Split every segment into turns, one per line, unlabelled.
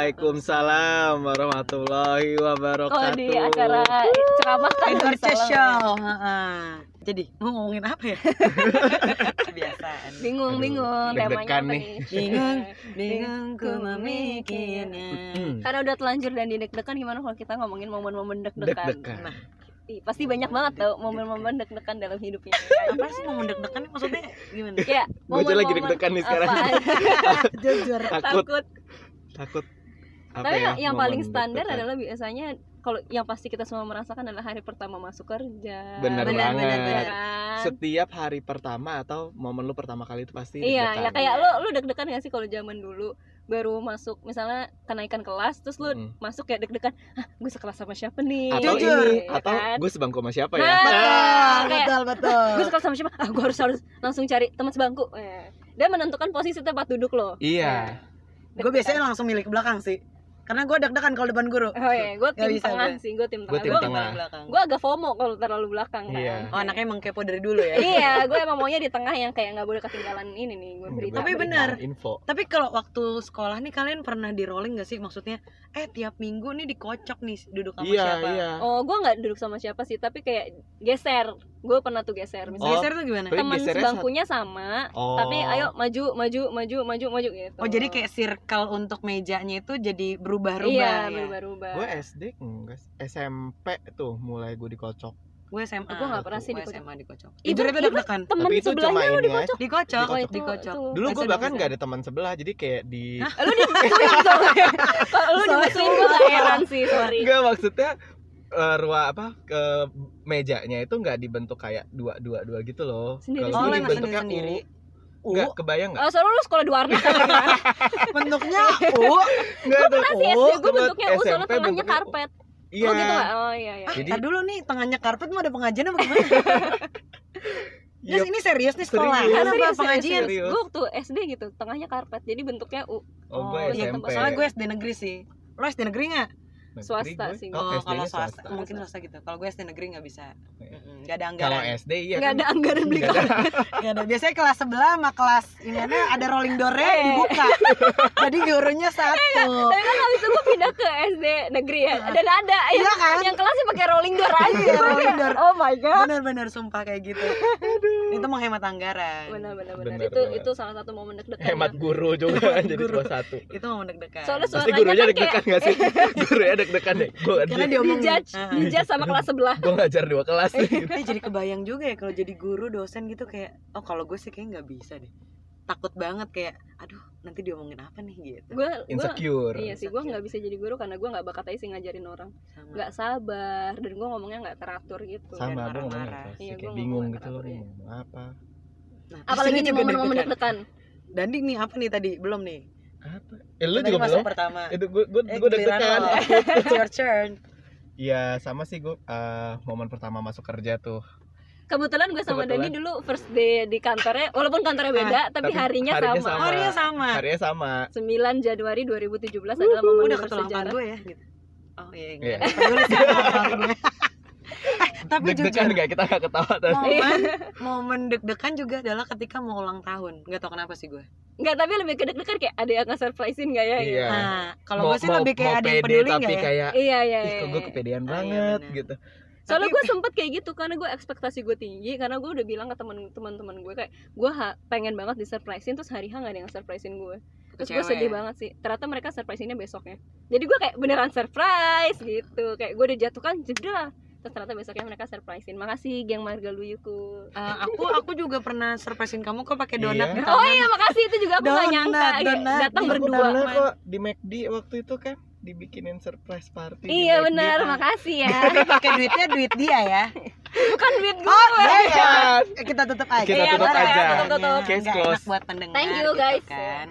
Waalaikumsalam warahmatullahi
Kalau
wabarakatuh.
Oh, di acara ceramah kan
Indonesia
bersalam ya.
Show. heeh. Jadi mau ngomongin apa ya? Kebiasaan.
Bingung
Aduh,
bingung temanya
deg-degan
apa
nih.
nih.
Bingung, bingung ku memikirnya.
Hmm,
Karena udah telanjur dan didek-dekan gimana kalau kita ngomongin momen-momen deg-dekan?
Deg-degan.
Nah,
Ih, Pasti banyak banget tau momen-momen deg-dekan dalam hidupnya.
apa sih mau mendek-dekan maksudnya gimana?
Ya,
Gue aja lagi
momen-momen
deg-degan nih sekarang.
apaan?
Ah, Jujur.
Takut,
Nah, Takut.
takut. Apa
Tapi
ya,
yang, yang
momen
paling standar
deg-degan?
adalah biasanya kalau yang pasti kita semua merasakan adalah hari pertama masuk kerja.
Bener
Benar,
banget.
benar, benar.
Kan?
Setiap hari pertama atau momen lu pertama kali itu pasti
Iya, ya
deg-degan.
kayak lo lo deg-degan gak sih kalau zaman dulu baru masuk misalnya kenaikan kelas terus lo
Mm.
masuk kayak deg-degan, ah gue sekelas sama siapa nih?
Atau
Jujur.
ini,
Ya
atau
kan?
gue sebangku sama siapa
Nah,
ya?
Betul,
Kayak-
betul, betul.
gue sekelas sama siapa? Ah gue harus harus langsung cari teman sebangku. Eh. Dan menentukan posisi tempat duduk lo.
Iya.
Nah,
Gue biasanya langsung milik belakang sih. Karena gue deg-degan kalau depan guru.
Oh iya, gue
Nggak
tim
bisa
tengah
gue.
sih, gue tim
Gue tim
tengah.
tengah.
belakang.
Gue agak FOMO kalau terlalu belakang kan.
Iya.
Oh, anaknya emang kepo dari dulu ya.
iya, gue emang maunya di tengah yang kayak nggak boleh ketinggalan ini nih gue berita.
Tapi
berita.
benar.
Info.
Tapi kalau waktu sekolah nih kalian pernah di rolling gak sih? Maksudnya, eh tiap minggu nih dikocok nih duduk sama
Iya,
siapa?
iya.
Oh, gue nggak duduk sama siapa sih, tapi kayak geser. Gue pernah tuh geser. Misalnya
Oh,
Geser tuh gimana?
Tapi
teman
gesernya
sebangkunya sama,
Oh.
tapi ayo maju, maju, maju, maju, maju gitu.
Oh jadi kayak circle untuk mejanya itu jadi berubah-ubah
Iya,
ya?
berubah-ubah.
Gue SD enggak, SMP tuh mulai gue dikocok.
Gue SMA
Gue nggak pernah sih
Gue
dikocok.
SMA dikocok
Itu-
Jujur itu
itu-
deg-degan
Temen
Tapi itu cuma
sebelahnya lo
ini
dikocok.
aja.
Dikocok,
Oh,
Dikocok.
itu,
dikocok.
tuh. Eh,
Dulu gue
Masa
bahkan
dulu
nggak ada teman sebelah, jadi kayak di
Hah?
Lu dimusuhin soalnya. Kalau lu
Sorry.
dimusuhin gue gak heran sih, sorry.
Enggak maksudnya eh, ruang apa ke mejanya itu nggak dibentuk kayak dua dua dua gitu loh.
Sendiri-
Oh
Kalau gue
Jadi
lu emang
dibentuknya
sendiri-sendiri
U.
U
Nggak kebayang nggak?
Oh, soalnya lu sekolah di warnet kan?
Bentuknya U
Nggak oh, ada
Pernah sih
U,
SD gue
kemudian
bentuknya U, soalnya
SMP
tengahnya
bentuknya U.
karpet.
Iya.
Oh gitu gak? Oh iya, iya.
Ah,
Jadi-
tar dulu nih, tengahnya karpet mau ada pengajian apa gimana?
iya,
Terus ini Ah, serius nih sekolah?
Serius.
Kenapa pengajian?
serius.
Gue waktu SD gitu, tengahnya karpet, jadi bentuknya U.
Oh, gue
Oh, iya,
SMP.
soalnya gue SD negeri sih Lo SD negeri nggak?
Negeri
swasta
gue-
sih gue.
Oh,
Oh,
SD-nya
kalau
swasta.
swasta, mungkin swasta gitu Kalau gue SD negeri nggak bisa
Oke.
Mm-mm, Nggak ada
Kalau
anggaran
SD iya
Nggak ada anggaran beli
Nggak ada.
Nggak ada, biasanya kelas sebelah sama kelas Ini ada rolling door-nya
Eh.
dibuka Jadi gurunya satu
Tapi kan habis itu gue pindah ke SD negeri ya. Dan ada yang,
Iya kan?
yang kelasnya pakai rolling door aja.
Iya, rolling door.
Oh my god.
Bener-bener sumpah kayak gitu Itu menghemat anggaran
Benar benar benar.
Kan. Benar,
Itu
benar.
itu salah satu momen deg-degan.
Hemat guru juga jadi cuma satu.
Itu mau deg-degan
Soalnya su-
Pasti
Suaranya
gurunya
kan
deg-degan nggak sih? gurunya deg-degan deh. Gue
Karena
yang
diomongin
dijudge,
Ah.
dijudge sama kelas sebelah.
gue ngajar dua kelas gitu.
Eh jadi kebayang juga ya kalau jadi guru dosen gitu kayak oh kalau gue sih kayak nggak bisa deh takut banget kayak aduh nanti diomongin apa nih gitu
Gue gue
Insecure.
Iya sih, gue nggak bisa jadi guru karena gue nggak bakat aja sih ngajarin orang.
Sama.
Nggak sabar dan gue ngomongnya nggak teratur gitu.
Sama
Dan
gue ngomongnya
marah-marah.
kelas sih,
Iya,
kayak
gua
bingung
ngomongnya
gitu loh
keras, iya.
ngomong apa.
Nah, terus
Apalagi
ini
di
juga
momen-momen
deg-degan.
deg-degan.
Dandi nih apa nih tadi belum nih
Apa? Eh lu
Tadi
juga
masuk
belum?
pertama
Itu gue gue
Eh,
gue deg-degan.
giliran lo. It's your turn
Iya sama sih gue eh, momen pertama masuk kerja tuh.
Kebetulan gue sama
Kebetulan. Ah,
Dani dulu first day di kantornya, walaupun kantornya beda, tapi,
tapi
harinya,
harinya
sama.
oh dia sama
Harinya sama.
9 Januari 2017 adalah momen
udah ketulampaan
bersejarah.
gue ya gitu oh iya
Iya.
enggak ada peduli sama orang gue. Eh, tapi jujur
Deg-degan gitu. nggak kita nggak ketawa tadi.
momen momen deg-degan juga adalah ketika mau ulang tahun nggak tau kenapa sih gue
Enggak, tapi lebih ke deg-degan kayak ada yang nge-surprisein gak ya?
Iya.
nah
Mau-
kalau gue sih
mau-
lebih
mau
kayak ada yang
pede,
peduli
tapi
nggak ya
kayak
Iya, iya,
ih
iya.
kok gue kepedean
Iya,
banget
benar.
gitu.
Soalnya
Tapi-
gue sempet kayak gitu karena gue ekspektasi gue tinggi karena gue udah bilang ke temen teman-teman gue kayak gue ha- pengen banget disurprisein terus hari H gak ada yang surprisein gue terus gue
Kecewa
sedih
ya?
banget sih ternyata mereka surpriseinnya besoknya jadi gue kayak beneran surprise gitu kayak gue udah jatuhkan jeda terus ternyata besoknya mereka surprisein makasih geng Marga Luyuku
Eh, aku aku juga pernah surprisein kamu kok pakai donat
Iya.
di
oh
tangan.
iya makasih itu juga aku gak
Donat,
nyangka kayak
donat.
datang
Iya,
Aku
berdua
pernah kok di McD waktu itu kan dibikinin surprise party. di
iya
McD.
benar makasih ya
Tapi pakai duitnya duit dia ya.
bukan duit
Oh,
gue
Iya.
Iya.
Bukan.
Eh, Kita tutup aja.
Kita tutup
boleh,
aja.
Tutup-tutup.
Case
Nggak
close.
enak buat pendengar.
Thank you,
gitu
guys.
kan.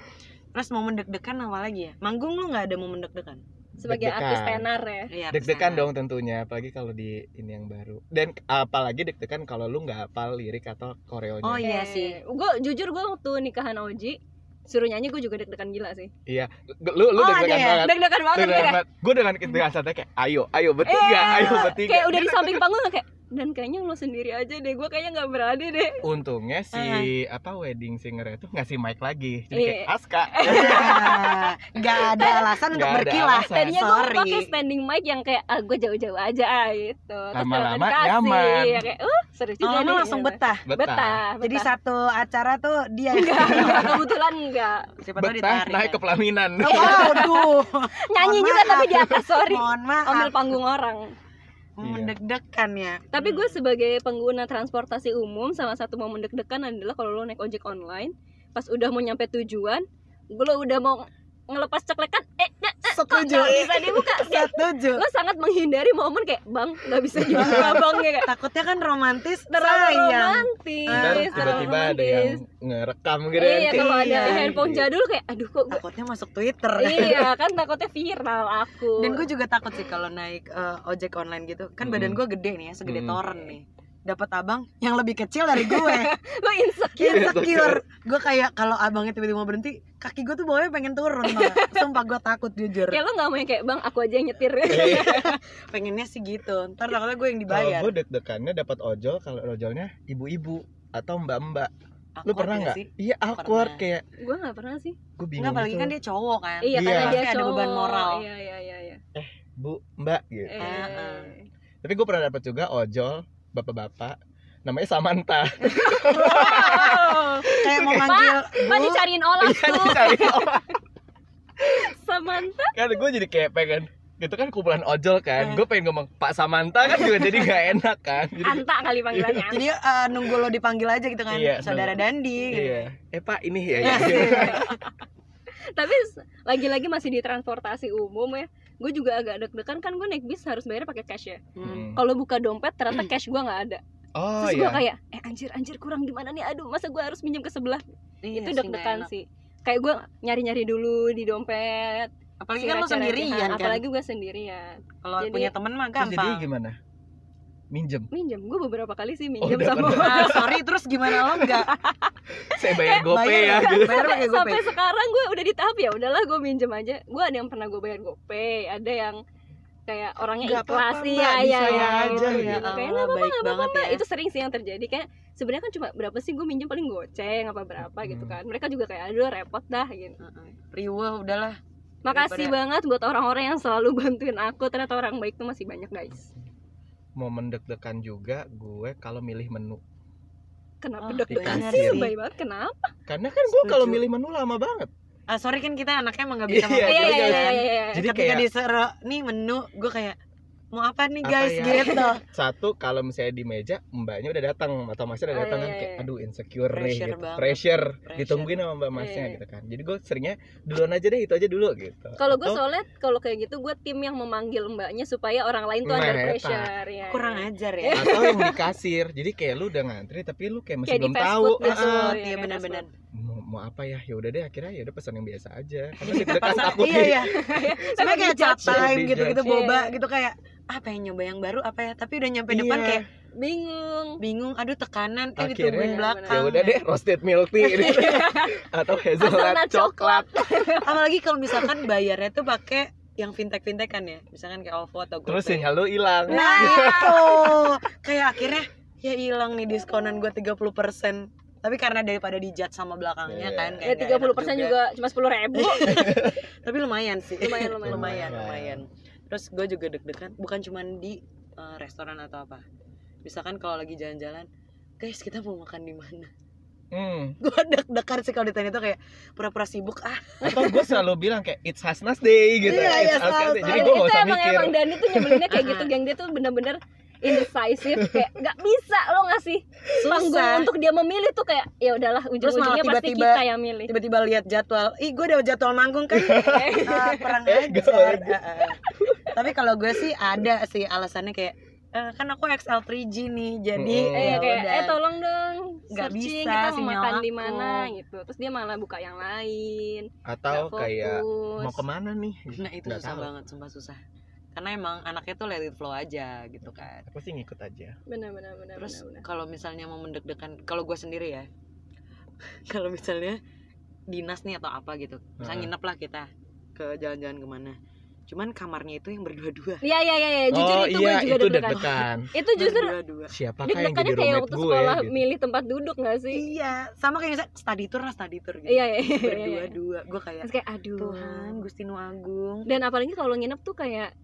Terus momen deg-degan apa lagi ya? Manggung lu nggak ada momen deg-degan?
sebagai artis tenar ya
Iya,
deg-degan
pesanan.
dong tentunya apalagi kalau di ini yang baru dan apalagi deg-degan kalau lu nggak hafal lirik atau koreonya
Oh iya sih.
gue jujur gue waktu nikahan Oji suruh nyanyi gue juga deg-degan gila sih
Gu- lu lu
Oh, ada
deg-degan
ya?
banget
deg-degan banget
deg-degan
kayak
banget gue dengan dengan santai kayak ayo ayo bertiga
eh,
ayo bertiga Gitu.
kayak udah di samping panggung kayak dan kayaknya lo sendiri aja deh gue kayaknya nggak berani deh
untungnya si apa wedding singer itu ngasih mic lagi jadi kayak
Iya.
aska
Eh, Gak ada alasan untuk
Nggak ada
berkilah.
alasan.
tadinya gue
Sorry.
pakai standing mic yang kayak ah gue jauh-jauh aja ah, gitu Terus
Lama-lama
ternyata dikasih.
nyaman.
ya, kayak uh seru juga
Lama-lama
nih,
langsung
gitu.
betah.
betah,
betah,
Jadi
betah.
satu acara tuh dia
enggak kebetulan enggak
Siapa tahu
betah
ditarik.
naik ke
kan?
pelaminan
Oh, Waduh,
nyanyi
Mohon
juga
maaf.
tapi di atas sorry
mohon maaf,
ambil panggung orang
Iya.
mendeg-degan ya.
tapi gue sebagai pengguna transportasi umum salah satu momen deg-degan adalah kalau lo naik ojek online pas udah mau nyampe tujuan lo udah mau ngelepas ceklekan eh nggak kok
setuju,
nggak bisa dibuka Kayak
setuju.
lo sangat menghindari momen kayak bang nggak bisa dibuka bang ya kayak
Takutnya kan romantis,
terlalu
sayang.
romantis
Ntar
terlalu
tiba-tiba ada yang
romantis.
ngerekam gitu kan.
iya kalau ada
Iya.
handphone jadul kayak aduh kok gue
Takutnya masuk Twitter.
iya kan takutnya viral aku
Dan gue juga takut sih kalau naik eh, ojek online gitu. Kan badan
Mm-mm.
gue gede nih ya, segede
Mm-mm.
toren nih. Dapat abang yang lebih kecil dari gue.
lo
Iya,
insecure
Insecure. gue kayak kalau abangnya tiba-tiba mau berhenti, kaki gue tuh bawahnya pengen turun. tau nggak? Sumpah gue takut jujur.
kayak lo nggak mau yang kayak bang aku aja yang nyetir
Iya.
Pengennya sih gitu. Ntar takutnya gue yang
Kalau
dibayar.
gue deg-degannya dapat ojol, kalau ojolnya ibu-ibu atau mbak-mbak. Lu
Awkward
pernah
ya
nggak?
sih?
Iya, awkward
Pernah.
kayak
gue nggak pernah sih
gue
Enggak,
bingung.
apalagi
gitu.
kan dia cowok kan.
iya
Iya.
karena dia
Pasti ada
cowok.
beban moral.
iya iya iya iya
Bu, Mbak gitu.
Eh,
Heeh.
Tapi gue pernah dapat juga ojol bapak-bapak namanya Samantha.
wow.
Kayak mau manggil
Mbak
Bu.
dicariin olah
Iya,
tuh
dicari orang.
Samantha
Kan gue jadi kayak pengen itu kan kumpulan
Eh.
ojol kan, gue pengen ngomong Pak Samantha kan juga jadi nggak enak kan. Jadi,
Anta kali panggilannya
Jadi eh, nunggu lo dipanggil aja gitu kan,
Iya,
saudara Dandi.
iya. Eh Pak ini ya.
tapi s- lagi-lagi masih di transportasi umum ya gue juga agak deg-degan kan gue naik bis harus bayar pakai cash ya
Hmm.
kalau buka dompet ternyata cash gue nggak ada
Hmm. Oh
terus gue
iya.
kayak eh anjir anjir kurang di mana nih aduh masa gue harus minjem ke sebelah
Iya
itu
sih,
deg-degan
nggak enak.
sih kayak gue nyari-nyari dulu di dompet
Apalagi kan lo
cira-cira-
sendirian kan.
apalagi gue sendirian
Kalau
Jadi-
punya temen mah
Terus jadinya
gampang.
gimana? Minjem.
minjem gue beberapa kali sih minjem
udah
sama
pernah.
Ah, sorry terus gimana lo enggak
Saya bayar gopay
bayar,
ya gitu.
bayar
sampai,
pakai GoPay.
sampai sekarang gue udah di tahap ya udahlah gue minjem aja gue ada yang pernah gue bayar gopay ada yang kayak orangnya
Nggak
ikhlas
apa-apa,
iya iya
Mbak, bisa
iya
ya aja,
gitu.
gitu.
Kayak, "Nggak
Allah,
apa-apa,
Oh, baik
nggak
banget
apa-apa."
ya.
itu sering sih yang terjadi kayak sebenarnya kan cuma berapa sih gue minjem paling goceng apa berapa gitu
Hmm.
kan mereka juga kayak aduh repot dah gitu
Riwa udahlah.
makasih
Daripada-
banget buat orang-orang yang selalu bantuin aku ternyata orang baik tuh masih banyak guys
Momen deg-degan juga gue kalau milih menu.
kenapa
Ah,
deg-degan
bener
sih
sih.
baik banget kenapa
Karena kan gue kalau
Setuju.
milih menu lama banget.
Ah, sorry kan kita anaknya emang nggak bisa
Iya,
iya iya
mengkritik
jadi-
iya
kan.
iya, iya.
Jadi
Ketika
kayak-
disuruh nih menu, gue kayak mau apa nih
Apa
guys
ya?
Iya,
gitu.
Satu kalau misalnya di meja mbaknya udah datang atau masnya udah
Oh,
datang
iya,
kan
iya,
kayak
iya.
aduh insecure nih
Pressure
gitu.
banget.
Pressure,
Pressure.
ditungguin sama mbak masnya
Iya.
gitu kan. Jadi gue seringnya duluan aja deh itu aja dulu gitu.
Kalau gue
Atau-
soalnya kalau kayak gitu gue tim yang memanggil mbaknya supaya orang lain tuh
Nah,
under
eta.
pressure ya.
Kurang ajar ya.
atau yang di kasir jadi kayak lu udah ngantri tapi lu kayak masih
Kayak di
belum
fast
tahu
food, fast
"Ah,
food."
ah,
Betul,
iya,
iya
kayak
benar-benar.
mau, mau apa ya ya udah deh akhirnya ya udah pesan yang biasa aja karena deg-degan
Pasar-
takut ya.
iya
nih.
iya. Sebenarnya kayak
Dijudge.
captain
Dijudge.
gitu-gitu
Iya,
boba
iya.
gitu kayak apa yang nyoba yang baru apa ya tapi udah nyampe depan
Iya.
kayak
Bingung.
bingung aduh tekanan eh
Akhirnya,
ditungguin belakang
ya udah deh roasted milk tea gitu. atau
Iya. Hazelnut
hazelnut coklat
apalagi kalau misalkan bayarnya tuh pakai yang fintech fintech kan ya misalkan kayak OVO atau GoPay
terus sinyal lu hilang
nah
Iya.
itu kayak akhirnya ya hilang nih diskonan gue 30% tapi karena daripada dijat sama belakangnya
Iya.
kan kayak
Ya
nggak
30%
enak
juga cuma sepuluh ribu.
tapi lumayan sih
Lumayan, lumayan.
lumayan
Lumayan.
lumayan. terus gue juga deg-degan bukan cuman di eh, restoran atau apa misalkan kalau lagi jalan-jalan guys kita mau makan di mana
hmm.
gue deg-degan sih kalau ditanya tuh kayak pura-pura sibuk ah
atau gue selalu bilang kayak it's Hasnas Day gitu
Iya, iya,
It's Hasnas
selalu,
Day.
selalu.
jadi
itu
gue gak usah
emang
mikir
emang Dani tuh nyebelinnya kayak gitu, geng dia tuh bener-bener indecisive kayak nggak bisa lo ngasih panggung
susah
untuk dia memilih tuh kayak ya udahlah ujung-ujungnya
ya. malah
pasti
tiba-tiba- Ya,
kita yang milih. Eh,
tiba-tiba lihat jadwal ih gue udah jadwal manggung kan Ah, perang aja
Eh, gak banget.
tapi kalau gue sih ada sih alasannya kayak eh, kan aku XL 3G nih jadi
Mm-mm.
Eh,
ya
kayak
udah.
eh tolong dong
Nggak
searching
bisa,
kita mau
sinyal
makan di
aku.
mana gitu. Terus dia malah buka yang lain. nggak
atau kayak
fokus.
mau kemana nih Gitu.
nah itu
Nggak
susah
tahu.
banget sumpah susah karena emang anaknya tuh let it flow aja gitu kan
aku sih ngikut aja
Benar benar benar
terus
Iya, benar, benar.
kalau misalnya mau mendeg-degan kalau gue sendiri ya kalau misalnya dinas nih atau apa gitu misalnya
Heeh.
nginep lah kita ke jalan-jalan kemana cuman kamarnya itu yang berdua-dua
Iya iya iya, iya. jujur
oh
itu
iya
gue juga
itu
deg-degan.
deg-degan
Itu justru
berdua-dua
siapakah yang jadi
deg-degannya kayak
roommate
waktu
gue
sekolah
gitu.
milih tempat duduk gak sih?
iya sama kayak saya study tour lah study tour gitu
Iya iya iya. iya, iya.
berdua-dua gue kayak
Terus kayak aduh.
Tuhan Gusti Nu Agung
Dan apalagi kalau nginep tuh kayak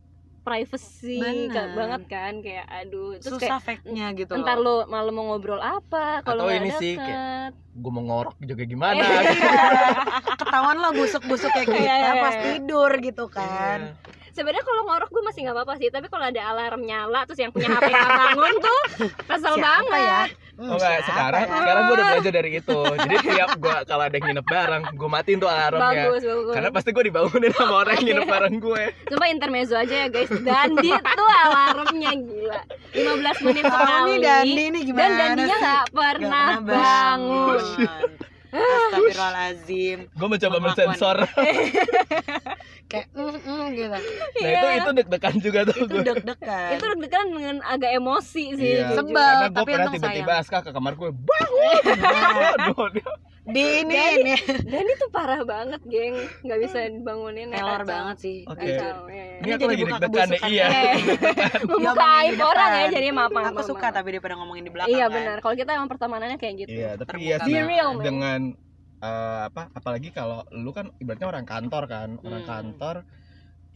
privacy
Bener.
ka- banget kan kayak aduh terus kayak
susah fake-nya gitu loh.
entar lo malam mau ngobrol apa kalau
Atau
nggak
ini sih,
deket.
gue mau ngorok juga gimana
Eh,
gitu.
ketahuan lah busuk-busuk kayak
Iya, iya,
kita
iya.
pas tidur gitu kan
Iya.
sebenarnya kalau ngorok gue masih nggak apa-apa sih tapi kalau ada alarm nyala terus yang punya hp nggak bangun tuh kesel
Siapa
banget
ya? Hmm,
Oh enggak,
siapa
sekarang
ya?
sekarang gue udah belajar dari itu. Jadi tiap gue kalau ada yang nginep bareng, gue matiin tuh alarmnya.
bagus bagus
Karena pasti gue dibangunin sama orang yang nginep bareng gue.
coba intermezzo aja ya guys dandi tuh alarmnya gila 15 menit
Kalau
sekali
ini Dandi ini
dan
gimana
dandinya
sih?
nggak pernah bangun
Astagfirullahaladzim
Gue mencoba
Pengakuan.
mensensor.
Kayak mm, mm, gitu
Nah
Iya.
itu itu deg-degan juga tuh
Itu
gue.
deg-degan
itu deg-degan dengan agak emosi sih
Iya.
jujur.
Sebel,
Karena gue
tapi
pernah
untung
tiba-tiba Aska ke kamar gue, bang,
Nah,
aduh, dia
Di ini
Jadi-
ini
Dandi tuh parah banget geng nggak bisa dibangunin ya,
Telor
kacau.
banget sih
Oke.
jujur.
kacau ya, ya.
Ini aku
jadi
lagi
buka
deg-degan nih,
kebusukan.
iya.
Eh, membuka aib
Diomongin di
orang ya
depan.
jadi maaf maaf
iya, Aku
maaf,
suka
maaf.
tapi daripada ngomongin di belakang
iya
kan.
benar kalau kita emang pertemanannya kayak gitu
Iya, tapi
Terbuka
ya sih
Be real, man.
dengan eh, apa apalagi kalau lu kan ibaratnya orang kantor kan, orang
Hmm.
kantor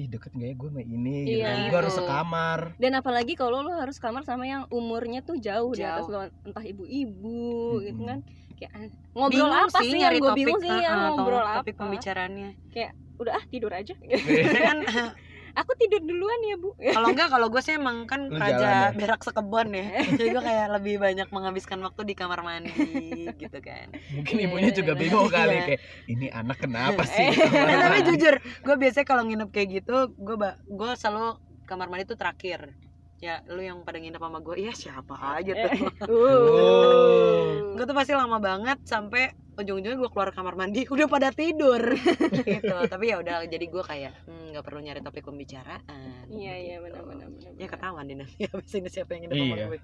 ih deket gak ya gue sama ini gitu.
Iya,
Gue harus
gitu.
sekamar.
dan apalagi kalau lo harus kamar sama yang umurnya tuh jauh, di atas lo
Jauh.
entah ibu-ibu gitu
Mm-mm.
kan kayak ah, ngobrol
Bingung
apa sih, yang
nyari
gue
topik,
bingung sih
uh-uh,
ya ngobrol
topik
apa
Topik pembicaraannya.
udah ah tidur aja
Saya kan eh,
aku tidur duluan ya bu
kalau enggak kalau gue sih emang kan
Lu
raja
jalan ya?
berak sekebon ya. Jadi gue kayak lebih banyak menghabiskan waktu di kamar mandi gitu kan.
Mungkin
Iya,
ibunya juga
iya. Eh,
bingung kali
Iya.
kayak ini anak kenapa sih?
Nah, tapi jujur, gue biasanya kalau nginep kayak gitu, gue gue selalu kamar mandi tuh terakhir. Ya lu yang pada nginep sama gue, iya siapa aja tuh.
Oh.
gue tuh pasti lama banget sampai ujung-ujungnya gue keluar kamar mandi udah pada tidur gitu tapi ya udah jadi gue kayak "Hmm, nggak perlu nyari topik pembicaraan
iya iya
Gitu.
benar-benar benar,
ya
benar.
ketahuan deh nanti abis ini siapa yang nginep sama
Iya.
gue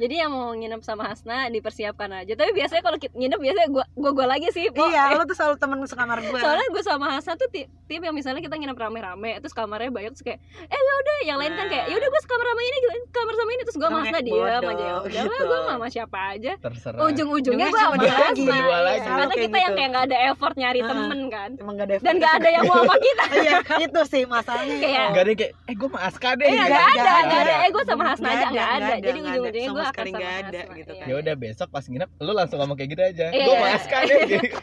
jadi yang mau nginep sama Hasna dipersiapkan aja tapi biasanya kalau ki- nginep biasanya gua gua gua lagi sih Po.
iya lo tuh selalu temen sekamar gue
soalnya gue sama Hasan tuh ti- tiap yang misalnya kita nginep rame-rame terus kamarnya banyak terus kayak eh ya udah yang lain kan kayak ya udah gue sekamar sama ini gitu, kamar sama ini terus gue
Kamu
sama Hasna
kayak
diam
bodoh,
aja ya udah
gitu.
gue sama siapa aja
Terserah.
ujung-ujungnya gue
Ujungnya cuma
sama
dua
Hasna
lagi,
dua
iya.
lagi.
karena
Selalu
kita
kayak
yang
gitu.
kayak nggak ada effort nyari
Heeh.
temen kan
emang gak ada
dan nggak ada yang mau sama kita
iya itu sih masalahnya Oh.
Kayak-
Gak ada yang kayak, eh gue sama Aska deh.
Iya,
Nggak
nggak ada,
nggak
nggak ada. Eh, gua sama Hasna aja, nggak ada. Jadi
nggak ada.
ujung-ujungnya
Sama
gua akan
sekali
sama
nggak ada
Hasna,
gitu
iya.
kan
Ya udah besok pas nginep lu langsung ngomong kayak gitu aja.
Iya.
Gue sama Aska deh.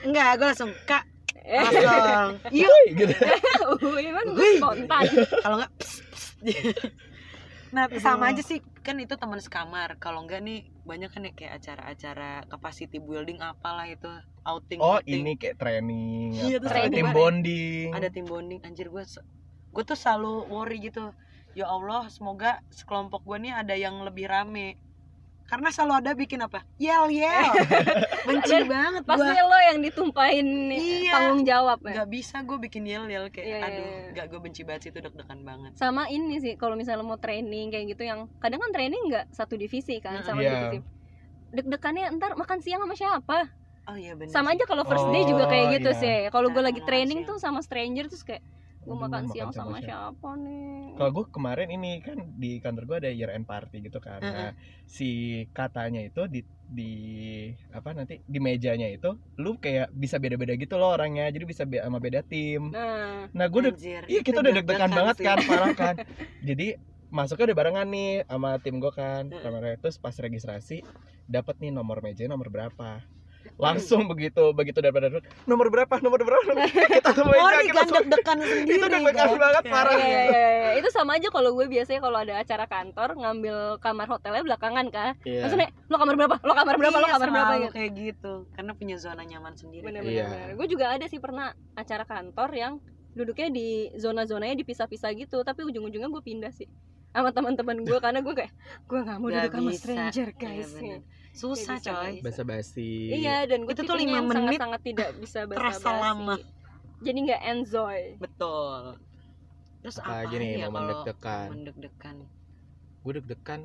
enggak gue langsung kak
Eh,
langsung yuk
Woi, gitu.
Iya. Wih, kan gue
Wih.
spontan
kalau nggak pss, pss. nah sama aja sih kan itu teman sekamar kalau nggak nih banyak kan ya kayak acara-acara capacity building apalah itu outing
Oh ini kayak training,
Iya,
apa,
terus
training
tim
banget.
bonding.
Iya.
ada tim bonding anjir gue gue tuh selalu worry gitu ya Allah semoga sekelompok gue nih ada yang lebih rame karena selalu ada bikin apa yel yel benci banget gue
pasti lo yang ditumpahin
Iya.
tanggung jawab ya
nggak bisa gue bikin yel yel kayak
Iya, iya,
aduh
iya.
nggak gue benci banget sih itu deg-degan banget
sama ini sih kalau misalnya mau training kayak gitu yang kadang kan training nggak satu divisi kan sama
Iya.
divisi deg-degannya ntar makan siang sama siapa
oh iya benar
sama aja kalau first day juga
Oh,
kayak gitu
iya.
sih kalau gue
Nah,
lagi
makan
training
siang.
tuh sama stranger terus kayak gue
Aduh,
makan siang sama siapa nih
Kalau gue kemarin ini kan di kantor gue ada year end party gitu kan. Nah, si katanya itu di di apa nanti di mejanya itu lu kayak bisa beda-beda gitu loh orangnya. Jadi bisa be- sama beda tim.
nah
Nah, gue udah iya kita udah deg-degan banget kan, parah kan. Jadi masuknya udah barengan nih sama tim gue kan.
Mm.
Kemarin terus pas registrasi dapat nih nomor meja nomor berapa. Langsung begitu begitu daripada nomor berapa nomor berapa nomor kita semua
Worry
kita
kan
semua
deg-degan sendiri
itu deg-degan
kan.
banget
Iya.
parah.
Iya, iya, iya, iya. itu sama aja kalau gue biasanya kalau ada acara kantor ngambil kamar hotelnya belakangan kan
Iya.
langsung nek lo kamar berapa lo kamar berapa lo
Iya,
kamar berapa
selalu
gitu
kayak gitu karena punya zona nyaman sendiri
bener-bener
Iya.
bener. gue juga ada sih pernah acara kantor yang duduknya di zona-zonanya dipisah-pisah gitu tapi ujung-ujungnya gue pindah sih sama teman-teman gue karena gue kayak gue nggak mau
Nggak
duduk sama
bisa.
stranger
Iya,
guys
bener. gitu. susah
Nggak bisa,
coy
guys.
basa-basi.
iya dan gue
Itu tuh lima
yang
menit
sangat-sangat tidak bisa
terasa
basa-basi.
lama.
jadi nggak enjoy
betul terus apa
Apalagi nih,
ya
momen
kalau
deg-degan.
momen deg-degan
Gue deg-degan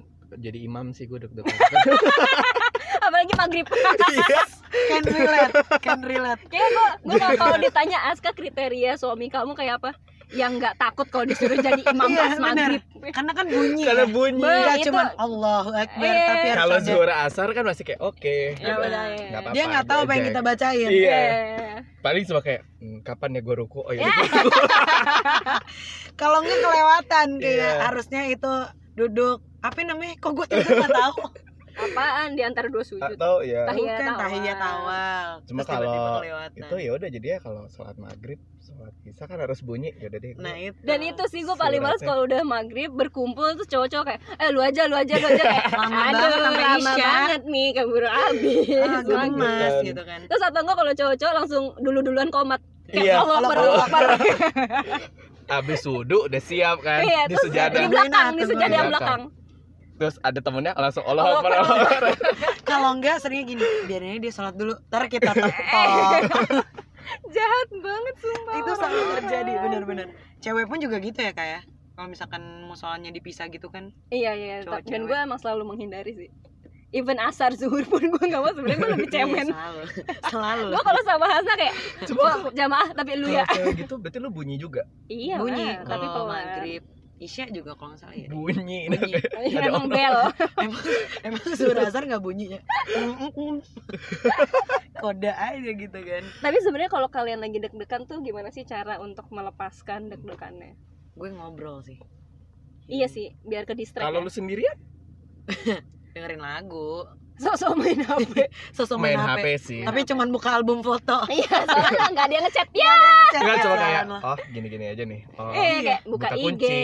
jadi imam sih gue deg-degan.
apalagi maghrib
Iya.
can Kan relate can relate
Ya, kayak gue gue kalau ditanya Aska kriteria suami kamu kayak apa yang nggak takut kalau disuruh jadi imam
Iya,
pas
bener.
maghrib
karena kan bunyi
Karena
ya.
bunyi.
Be-
Nggak
Itu-
cuman Allahu Akbar
Eh.
tapi harus
Kalau
ada-
suara asar kan masih kayak oke.
ya udah ya.
Nggak apa-apa.
dia nggak tahu apa yang kita bacain
Iya.
Ya.
Paling cuma kayak "Hmm, kapan ya gua ruku? Oh iya.
Ya.
kalau nggak kelewatan kayak
Iya.
harusnya itu duduk apa namanya kok gue tidur nggak tahu
apaan di antara dua sujud
Atau ya
Tahiyat
bukan
awal.
tahiyat awal
Cuma
Terus tiba-tiba
kalau
kelewatan.
itu
Nah.
ya udah jadi ya kalau sholat maghrib sholat isya kan harus bunyi ya udah deh gua-
nah itu
dan itu sih gue paling males
Suratnya.
kalau udah maghrib berkumpul terus cowok-cowok kayak eh lu aja lu aja lu aja kayak
Lama
aduh
banget sampai
lama
Isya."
banget nih keburu habis
ah,
maghrib.
gemas
Bukan.
gitu kan
terus atau enggak kalau cowok-cowok langsung dulu-duluan komat kayak
iya
Allah
Allah
Akbar, Allah Akbar.
abis wudhu udah siap kan
iya
di
terus di
sejadah
dia-
belakang di
Di
sejadah yang
belakang.
belakang
terus ada temennya langsung Allah
Allah
Akbar
Akbar.
Allah Akbar.
kalau nggak seringnya gini biarin aja dia sholat dulu ntar kita tektok
jahat banget sumpah
itu
orang.
selalu terjadi bener-bener cewek pun juga gitu ya kayak kalau misalkan musolanya dipisah gitu kan
iya iya
Cowok
dan
cewek.
gue emang selalu menghindari sih even asar zuhur pun gue nggak mau sebenarnya gue lebih
Iya,
cemen
selalu selalu
gue kalau sama Hasna kayak
cuma
wah jamaah tapi lu ya
kalau cewek gitu berarti lu bunyi juga
iya
bunyi
lah, tapi
kalau
pelan.
maghrib isya juga kalau nggak salah ya
bunyi
bunyi
Iya,
Ada
emang
orang.
bel
emang emang suara azan nggak bunyi ya kode aja gitu kan
tapi sebenarnya kalau kalian lagi deg-degan tuh gimana sih cara untuk melepaskan deg-degannya
gue ngobrol sih
iya sih biar ke distract ya.
kalau lu ya, sendirian
dengerin lagu
sok main HP
sosok
main HP sih
tapi cuman buka album foto
iya soalnya nggak ada yang ngechat ya
Enggak cuma kayak
Jalan lah.
oh gini-gini aja nih. Oh,
eh
Iya.
kayak buka,
Buka
IG
kunci.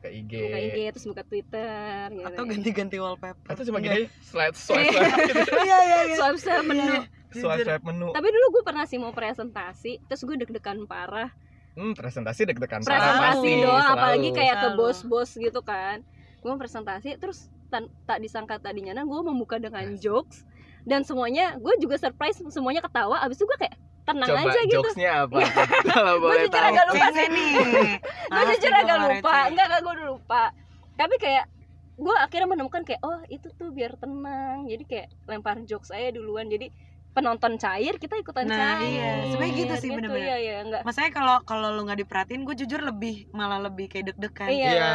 ke IG.
buka IG terus buka Twitter gitu
atau ganti-ganti wallpaper
Atau cuma
Iya.
gini slide swipe swipe
iya iya iya
swipe swipe menu
swipe, swipe menu.
tapi dulu gue pernah sih mau presentasi terus gue deg-degan parah
Hmm, presentasi deg-degan parah
presentasi
pasti,
doang
selalu.
apalagi kayak ke
Selalu.
bos-bos gitu kan gue mau presentasi terus tan- tak disangka tadinya nah gue membuka dengan jokes dan semuanya gue juga surprise semuanya ketawa abis itu gue kayak tenang
Coba
aja gitu
jokesnya apa? Kalau boleh
jujur
tahu.
agak lupa
Receh nih Ah,
gue jujur agak lupa
ya.
enggak enggak gue udah lupa tapi kayak gue akhirnya menemukan kayak oh itu tuh biar tenang jadi kayak lempar jokes aja duluan jadi penonton cair kita ikutan
nah
cair
iya sebenarnya gitu sih
iya
bener-bener
iya enggak
Maksudnya kalau kalau lu nggak diperhatiin, gue jujur lebih malah lebih kayak deg-degan.
iya
Iya.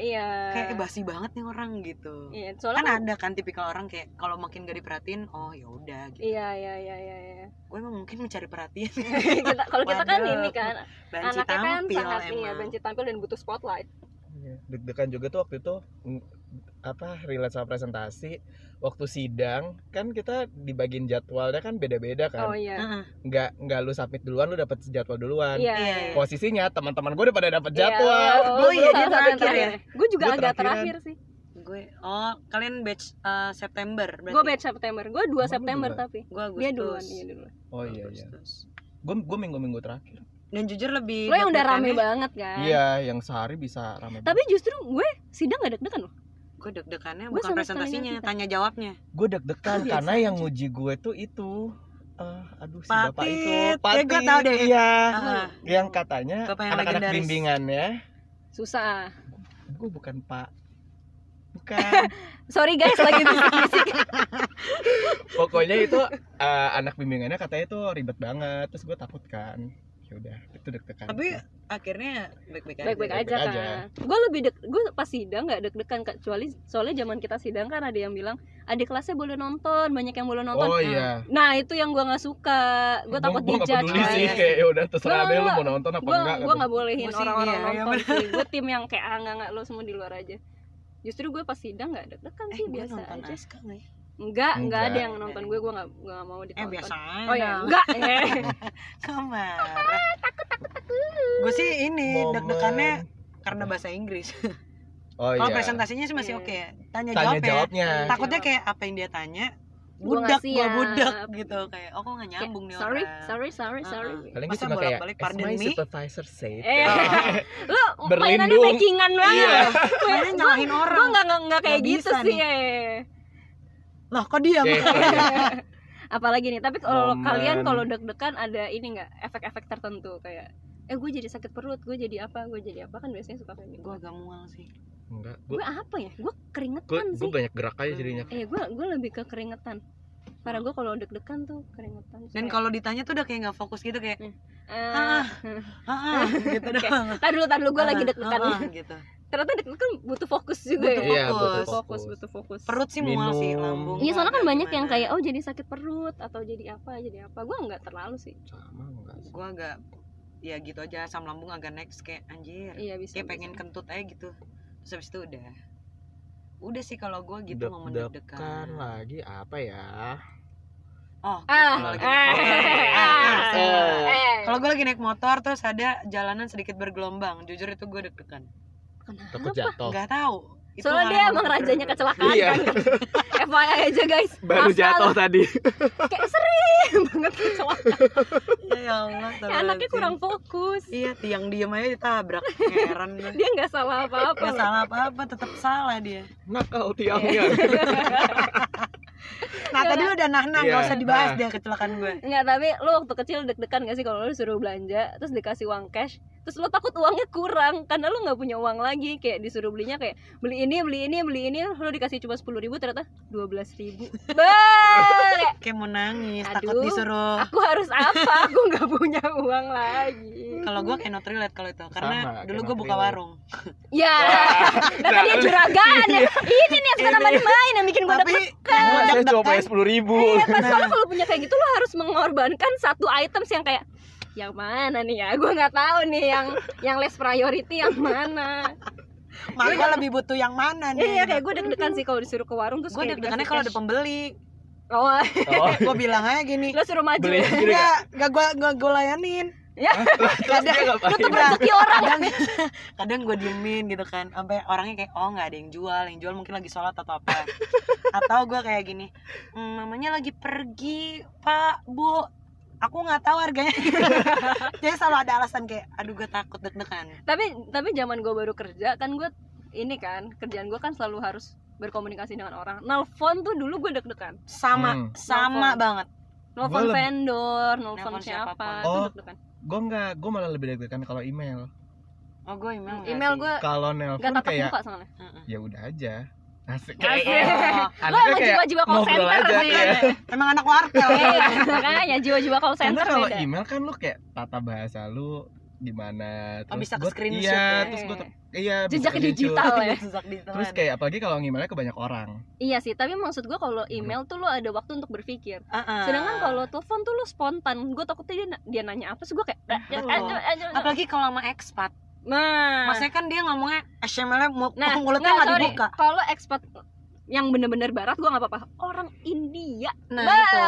iya
Nah, Kayak eh, basi banget nih orang gitu.
iya
Kan
soalnya
ada kan tipikal orang kayak kalau makin gak diperhatiin, oh ya udah gitu.
iya iya iya iya iya.
Gue emang mungkin mencari perhatian.
kita kalau kita kan
Waduh,
ini kan
Banci
anaknya kan
tampil
sangat iya
emang.
benci tampil dan butuh spotlight
Iya, deg-degan juga tuh waktu itu mm, apa relate sama presentasi waktu sidang kan kita dibagiin jadwalnya kan
oh
beda-beda kan
iya
Heeh.
nggak nggak lu submit duluan lu dapat jadwal duluan
iya
Iya, iya.
posisinya teman-teman gue udah pada dapat
Iya,
Oh, jadwal
lo-
Oh,
lo
iya, dia
salah satu yang
terakhir ya?
Gue juga
Gua
agak
terakhiran.
terakhir sih.
Gue oh kalian batch eh, September berarti.
Gue batch September. Gue 2
Emang lu
September
duluan?
tapi.
Gue Agustus.
Dia duluan, dia duluan.
oh iya iya
Agustus.
gue gue minggu-minggu terakhir
Dan jujur lebih
Lo yang udah rame
deg-degannya-
banget kan.
iya yang sehari bisa ramai
Tapi justru gue sidang gak deg-degan loh.
Gue deg-degannya
Gua
bukan
sama sekali
presentasinya,
nggak bisa.
tanya jawabnya.
gue deg-degan
Oh,
Ah,
iya,
biasa
karena
aja.
yang nguji gue tuh itu eh, aduh si bapak
Patit.
itu
Ya, gua tahu deh.
iya
Ah.
yang katanya
Bapak yang
anak-anak
legendaris.
bimbingannya
Susah.
gue bukan pak bukan
Sorry guys lagi bisik-bisik.
pokoknya itu eh, anak bimbingannya katanya itu ribet banget terus gue takut kan ya udah itu deg-degan
Tapi akhirnya baik-baik aja.
Baik-baik aja
Baik-baik aja.
kan. Gue lebih deg gue pas sidang gak deg-degan kecuali soalnya zaman kita sidang kan ada yang bilang adik kelasnya boleh nonton, banyak yang boleh nonton.
oh iya
Nah, itu yang gue nggak suka. Gue takut
gue nggak
dijudge.
peduli
kan.
sih kayak ya udah terserah
Gua-
deh lu
gua-
mau nonton apa
gue
enggak gitu.
gue nggak bolehin
Gua sih,
orang-orang
iya, iya,
nonton sih gue tim yang kayak ah nggak nggak lo semua di luar aja justru gue pas sidang nggak deg-degan
Eh,
sih
gue
biasa
nonton
aja
Aska nggak ya?
enggak enggak ada
Enggak.
yang nonton gue gue nggak nggak mau
Eh,
ditonton
biasa aja.
oh ya enggak eh.
Kamar. Gue sih ini
Momen.
deg-degannya karena bahasa Inggris.
oh iya
Kalau presentasinya sih masih
Iya.
oke ya. Tanya,
tanya
jawab ya.
jawabnya
Tanya
Takutnya
jawab.
kayak apa yang dia tanya
Gua
budak
nggak
gua
siap.
budak gitu kayak oh kok nggak
Kayak,
nyambung nih
sorry
orang.
sorry sorry sorry
paling gue
Masa
cuma kayak
bolak-balik,
as
pardon
my
me?"
supervisor Ya. said
eh lo mainannya
Berlindung.
makingan banget
Iya.
Mainnya nyalahin
gue
orang.
nggak nggak nggak kayak
Nggak
gitu
bisa
sih
nih.
eh.
Lah kok diam?
Oke, oke.
apalagi nih tapi kalau
Momen.
kalian kalau deg-degan ada ini nggak efek-efek tertentu kayak eh gue jadi sakit perut gue jadi apa gue jadi apa kan biasanya suka kayak gitu
Gue agak mual sih.
enggak gue
gue apa ya gue
gue
keringetan
gue
sih Iya,
banyak gerak aja Iya, jadinya
eh gue gue lebih ke keringetan Karena gue kalau deg-degan tuh keringetan.
dan kalau ditanya tuh udah kayak nggak fokus gitu kayak
eh
ah ah ah," gitu
Oke.
doang
tar dulu tar dulu gue
Ah,
lagi
ah, ah,
deg-degan.
gitu
Ternyata deg-degan kan butuh fokus juga
Butuh
ya.
Iya, butuh
fokus.
Fokus butuh fokus.
perut sih mual sih
Minum.
lambung
Iya soalnya kan
Agak
banyak yang kayak
gimana.
oh jadi sakit perut atau jadi apa jadi apa. Gue nggak terlalu sih.
sama enggak sih
gua agak ya gitu aja asam lambung agak next kayak anjir
Iya bisa.
kayak pengen
bisa.
kentut aja gitu terus habis itu udah udah sih kalau gua gitu
Kan.
mau
Deg-degan
mendekan
Kan lagi apa ya
oh
Ah,
kalau lagi
ah,
naik motor.
ah,
Ah,
ah.
Eh,
kalau gua lagi naik motor terus ada jalanan sedikit bergelombang jujur itu gua deg-degan
takut jatuh
nggak tahu Itu
soalnya dia
hal-
emang rajanya kecelakaan
kan. Iya.
kan. FYI aja guys.
baru
Asal
jatuh tadi
Kayak sering banget kecelakaan.
ya
Ya,
Allah
anaknya
astagfirullahaladzim.
kurang fokus.
iya tiang diem aja ditabrak heran gue
Dia nggak salah apa-apa.
Gak salah apa-apa, tetap salah dia.
nakal
Eh.
tiangnya
Nah
Ya.
tadi lu udah nah-nah,
Iya,
gak usah dibahas
nah.
dia kecelakaan gue
Enggak, tapi lu waktu kecil deg-degan gak sih kalau lu disuruh belanja terus dikasih uang cash, terus lu takut uangnya kurang karena lu nggak punya uang lagi, kayak disuruh belinya kayak beli ini, beli ini, beli ini, lu dikasih cuma sepuluh ribu ternyata dua belas ribu. Bah,
Kayak mau nangis, takut
Aduh. Ah.
disuruh
aku harus apa? Aku nggak punya uang lagi.
kalau gue kayak not relate kalau itu karena
Sama,
dulu
kayak
gue
not
buka
relate.
warung
Ya, ternyata
Nah,
dia
lu-
juragan ya. Ini nih yang suka nambahin main yang bikin gue
tapi
deg
Gua saya cuma
Iya, deg-degan
pengen sepuluh ribu
Iya, tapi soalnya kalau punya kayak gitu lo harus mengorbankan satu items yang kayak yang mana nih ya? Gue nggak tahu nih yang yang less priority yang mana.
malah gue lebih butuh yang mana nih
Iya, kayak gue deg-degan sih kalau disuruh ke warung terus
gue
kayak
deg-degannya
dikasih
kalau ada
cash.
pembeli
Oh,
oh
gue bilang aja gini
lo suruh maju.
beli gini nggak?
Enggak, enggak gue gak gue layanin
terus dia ngapain
Tutup rezeki orang.
Iya. kadang kadang gue diemin gitu kan sampai orangnya kayak oh nggak ada yang jual yang jual mungkin lagi sholat atau apa atau gue kayak gini "Hmm, mamanya lagi pergi pak bu aku nggak tahu harganya jadi selalu ada alasan kayak aduh gue takut deg-degan
Tapi tapi zaman gue baru kerja kan gue ini kan kerjaan gue kan selalu harus berkomunikasi dengan orang. Nelfon tuh dulu gue deg-degan.
sama
Hmm.
sama banget
Nelfon
Gua lem-
vendor, nelfon
Nelfon
siapa,
siapapun.
tuh
Oh,
deg-degan.
gue nggak gue malah lebih deg-degan kalau email
oh gue email nggak
Email
sih?
gue
kalau
nggak
nelpon
tatap
kayak
muka soalnya.
Mm-mm.
ya udah aja asik
Asik.
Oh,
Lo
Anaknya
emang
"Kan
jiwa-jiwa call
ngobrol
center
aja,
sih.
iya.
emang anak wartel
Iya, makanya jiwa-jiwa call
karena
center
kalau
beda.
email kan lu kayak tata bahasa lu gimana
Oh, bisa ke
gua-
screenshot
iya
ya.
terus gue
Eh,
iya bisa
jejak
ke
digital ya.
Sejak di telan.
terus kayak apalagi kalau ngemailnya ke banyak orang
Iya sih, tapi maksud gua kalau email tuh lo ada waktu untuk berpikir.
Uh-uh.
Sedangkan kalau telepon tuh lo spontan. Gue takutnya dia, na- dia nanya apa, terus gue kayak "Eh, eh,
Betul.
eh, eh, eh."
apalagi kalau sama ekspat
Nah,
maksudnya kan dia ngomongnya HTML-nya mu-
nah,
mulutnya nggak
sorry.
dibuka
Kalau ekspat yang bener-bener barat gua nggak apa-apa. Orang India.
nah
Bah.
itu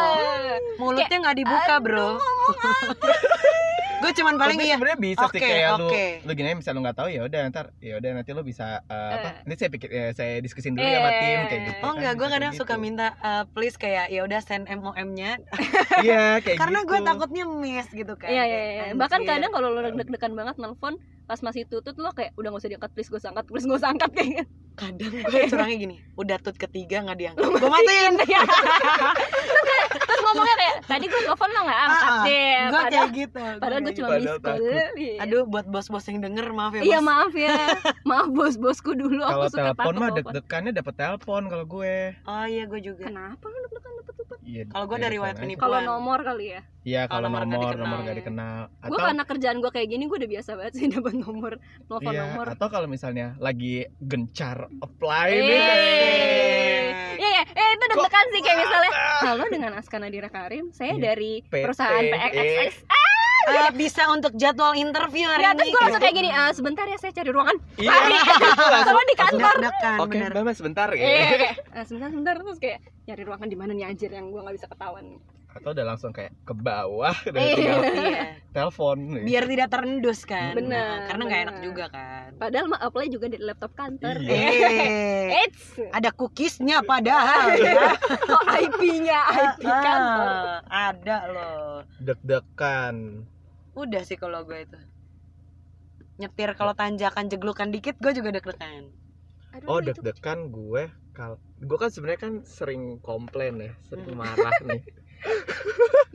mulutnya nggak dibuka bro gue cuman paling
Tapi
iya
sebenarnya bisa sih
Oke,
kayak
oke.
lu lu gini aja, misalnya lu nggak tahu ya udah ntar ya udah nanti lu bisa eh, apa
Eh.
nanti saya pikir ya, saya diskusin
Iya,
dulu ya sama
Eh.
tim kayak gitu
Oh enggak,
kan,
gue
bisa
kadang
kayak
suka
gitu.
minta eh, please kayak ya udah send MOM-nya
iya kayak
karena
gitu.
gue takutnya miss gitu kan.
Iya, iya,
Kayak,
iya. Bahkan
anjir.
kadang kalau lo deg-degan banget nelfon pas masih tutut lo kayak udah gak usah diangkat please gue angkat please gue angkat kayak gitu.
kadang gue curangnya gini, udah tut ketiga nggak diangkat. Gue matiin.
Terus kayak- Iya. terus ngomongnya kayak tadi gue telepon lo nggak angkat
Ah, ah.
deh.
Gue
Iya, Padahal
kayak gitu. gua
Padahal gue
kayak
cuma
Padahal
miss call.
takut.
Iya.
gitu. Aduh, buat bos-bos yang denger maaf ya.
Iya
bos.
maaf ya, maaf bos-bosku dulu
kalau
aku suka
telepon
takut
mah
telepon.
deg-degannya dapet telepon kalau gue
Oh iya, gue juga.
Kenapa lu deg-degan dapet telepon?
Iya,
Kalau gue dari
deg-degan
riwayat
aja.
penipuan.
Kalau nomor kali ya.
Iya
Kalau
kalau
nomor nggak
nomor
dikenal.
nomor nggak dikenal
Gue
atau
karena kerjaan gue kayak gini gue udah biasa banget sih dapet nomor, kan telepon
iya,
nomor.
atau kalau misalnya lagi gencar Iya. apply nih
Eh, Iya, iya, eh, itu deg-degan sih kayak misalnya
Ah,
Halo dengan Askana Dira Karim, saya
Iya.
dari
PT,
perusahaan PXXX
Eh, bisa untuk jadwal interview hari
Ya,
ini. gitu.
terus gue langsung kayak gini, "Eh, sebentar ya saya cari ruangan
Iya,
Lari.
itu langsung.
Sama di kantor
Deg-degan,
Oke,
bener.
Mbak Mas sebentar ya.
Iya, kayak, "Eh, sebentar, sebentar Terus kayak, nyari ruangan di mana nih anjir yang gue gak bisa ketahuan
Atau udah langsung kayak ke bawah udah
Iya.
tinggal
Iya.
telepon.
Biar tidak terendus kan.
Bener,
Karena nggak enak
bener.
juga kan.
Padahal mah apply juga di laptop kantor
Iya.
Eh,
Eits,
ada cookiesnya padahal ya.
oh IP-nya, IP
Ah,
kantor
ada loh.
deg-degan.
Udah sih kalau gue itu. Nyetir kalau tanjakan jeglukan dikit gue juga kan? deg-degan.
Aduh,
Oh,
Nah, itu-
deg-degan gue kalau gue kan sebenarnya kan sering komplain ya, sering marah nih.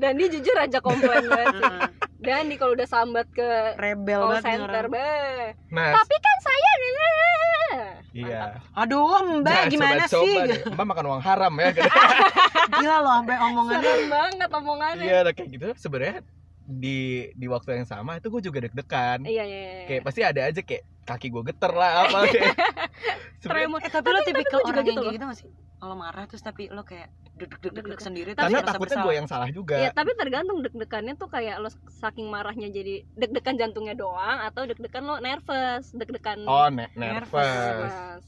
Dan dia jujur aja komplain banget
Heeh.
Dan dia kalau udah sambat ke
Rebel
call
banget nih
center
orang.
be.
Nah,
Tapi kan saya
Iya.
Aduh, Mbak, gimana sih?
coba-coba Nah, deh. Mbak makan uang haram ya. gitu.
Gila loh, sampai omongannya.
Serem banget omongannya.
Iya, lah, kayak gitu. Sebenarnya di di waktu yang sama itu gue juga deg-degan.
Iya, iya, iya.
Kayak pasti ada aja kayak kaki gue geter lah
Iya.
apa kayak. Sebenarnya
Tremor.
Eh, tapi lo tipikal
gua juga
orang yang
gitu
kayak gitu gak sih? Kalau marah terus tapi lo kayak duduk-duduk sendiri terus
karena
ngerasa
takutnya gue
bersalah.
yang salah juga.
Iya, tapi tergantung deg-degannya tuh kayak lo saking marahnya jadi deg-degan jantungnya doang atau deg-degan lo nervous, deg-degan
Oh, ne-
Nervous.
nervous.
nervous.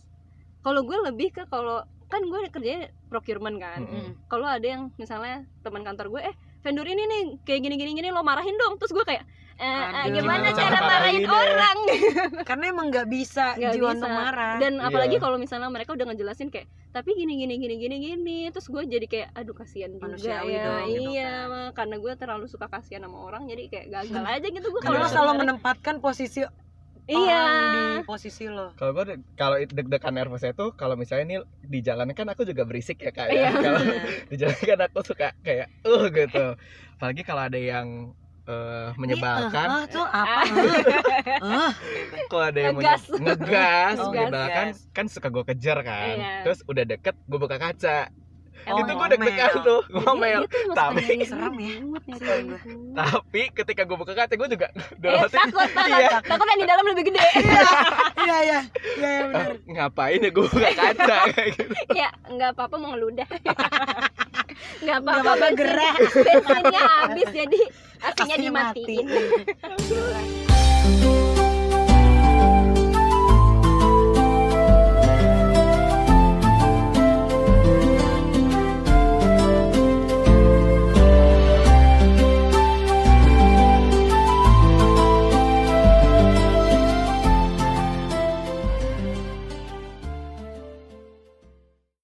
Kalau gue lebih ke kalau kan gue kerjanya procurement kan.
Mm-mm.
Mm.
Kalau ada yang misalnya teman kantor gue, eh vendor ini nih kayak gini gini gini lo marahin dong. Terus gue kayak eh, eh,
Aduh.
gimana
Gimana
cara
cara
marahin
marahinnya?
orang?
Karena emang nggak bisa
Nggak
jiwa
bisa.
untuk marah.
Dan
Iya.
apalagi kalau misalnya mereka udah ngejelasin kayak tapi gini gini gini gini gini terus gue jadi kayak aduh kasihan juga
Manusiawi
ya
dong, gitu
iya
kan.
Ma. karena gue terlalu suka kasihan sama orang jadi kayak gagal aja gitu gue
Kalau
Iya.
lo selalu menempatkan posisi
iya
orang di posisi lo.
Kalau gue kalau deg-degan nervousnya tuh kalau misalnya nih di jalan kan aku juga berisik ya kayak.
Iya.
Kalau di jalan kan aku suka kayak uh gitu. Apalagi kalau ada yang eh, menyebalkan,
Ah, tuh apa? Ah,
kalau ada yang
Ngegas. Oh,
menye- ngegas,
Ngegas.
menyebalkan kan suka gue kejar kan.
Iya.
Terus udah deket gue buka kaca.
Oh,
itu gue
ngomel.
deg-degan tuh, ngomel.
gitu.
Tapi-
Serem ya.
Iya, Serem
Serem
gitu.
Tapi ketika gue buka kaca gue juga dalam
Eh,
hati,
takut, takut,
Iya.
takut yang di dalam lebih gede.
Iya, iya. Iya, iya, benar.
"Ah, ngapain ya gue buka kaca kayak gitu.
ya, nggak apa-apa mau ngeludah. Nggak
Nggak
apa-apa
apa-apa
bensin,
gerak.
bensinnya habis jadi
Aslinya
aslinya dimatiin.
mati.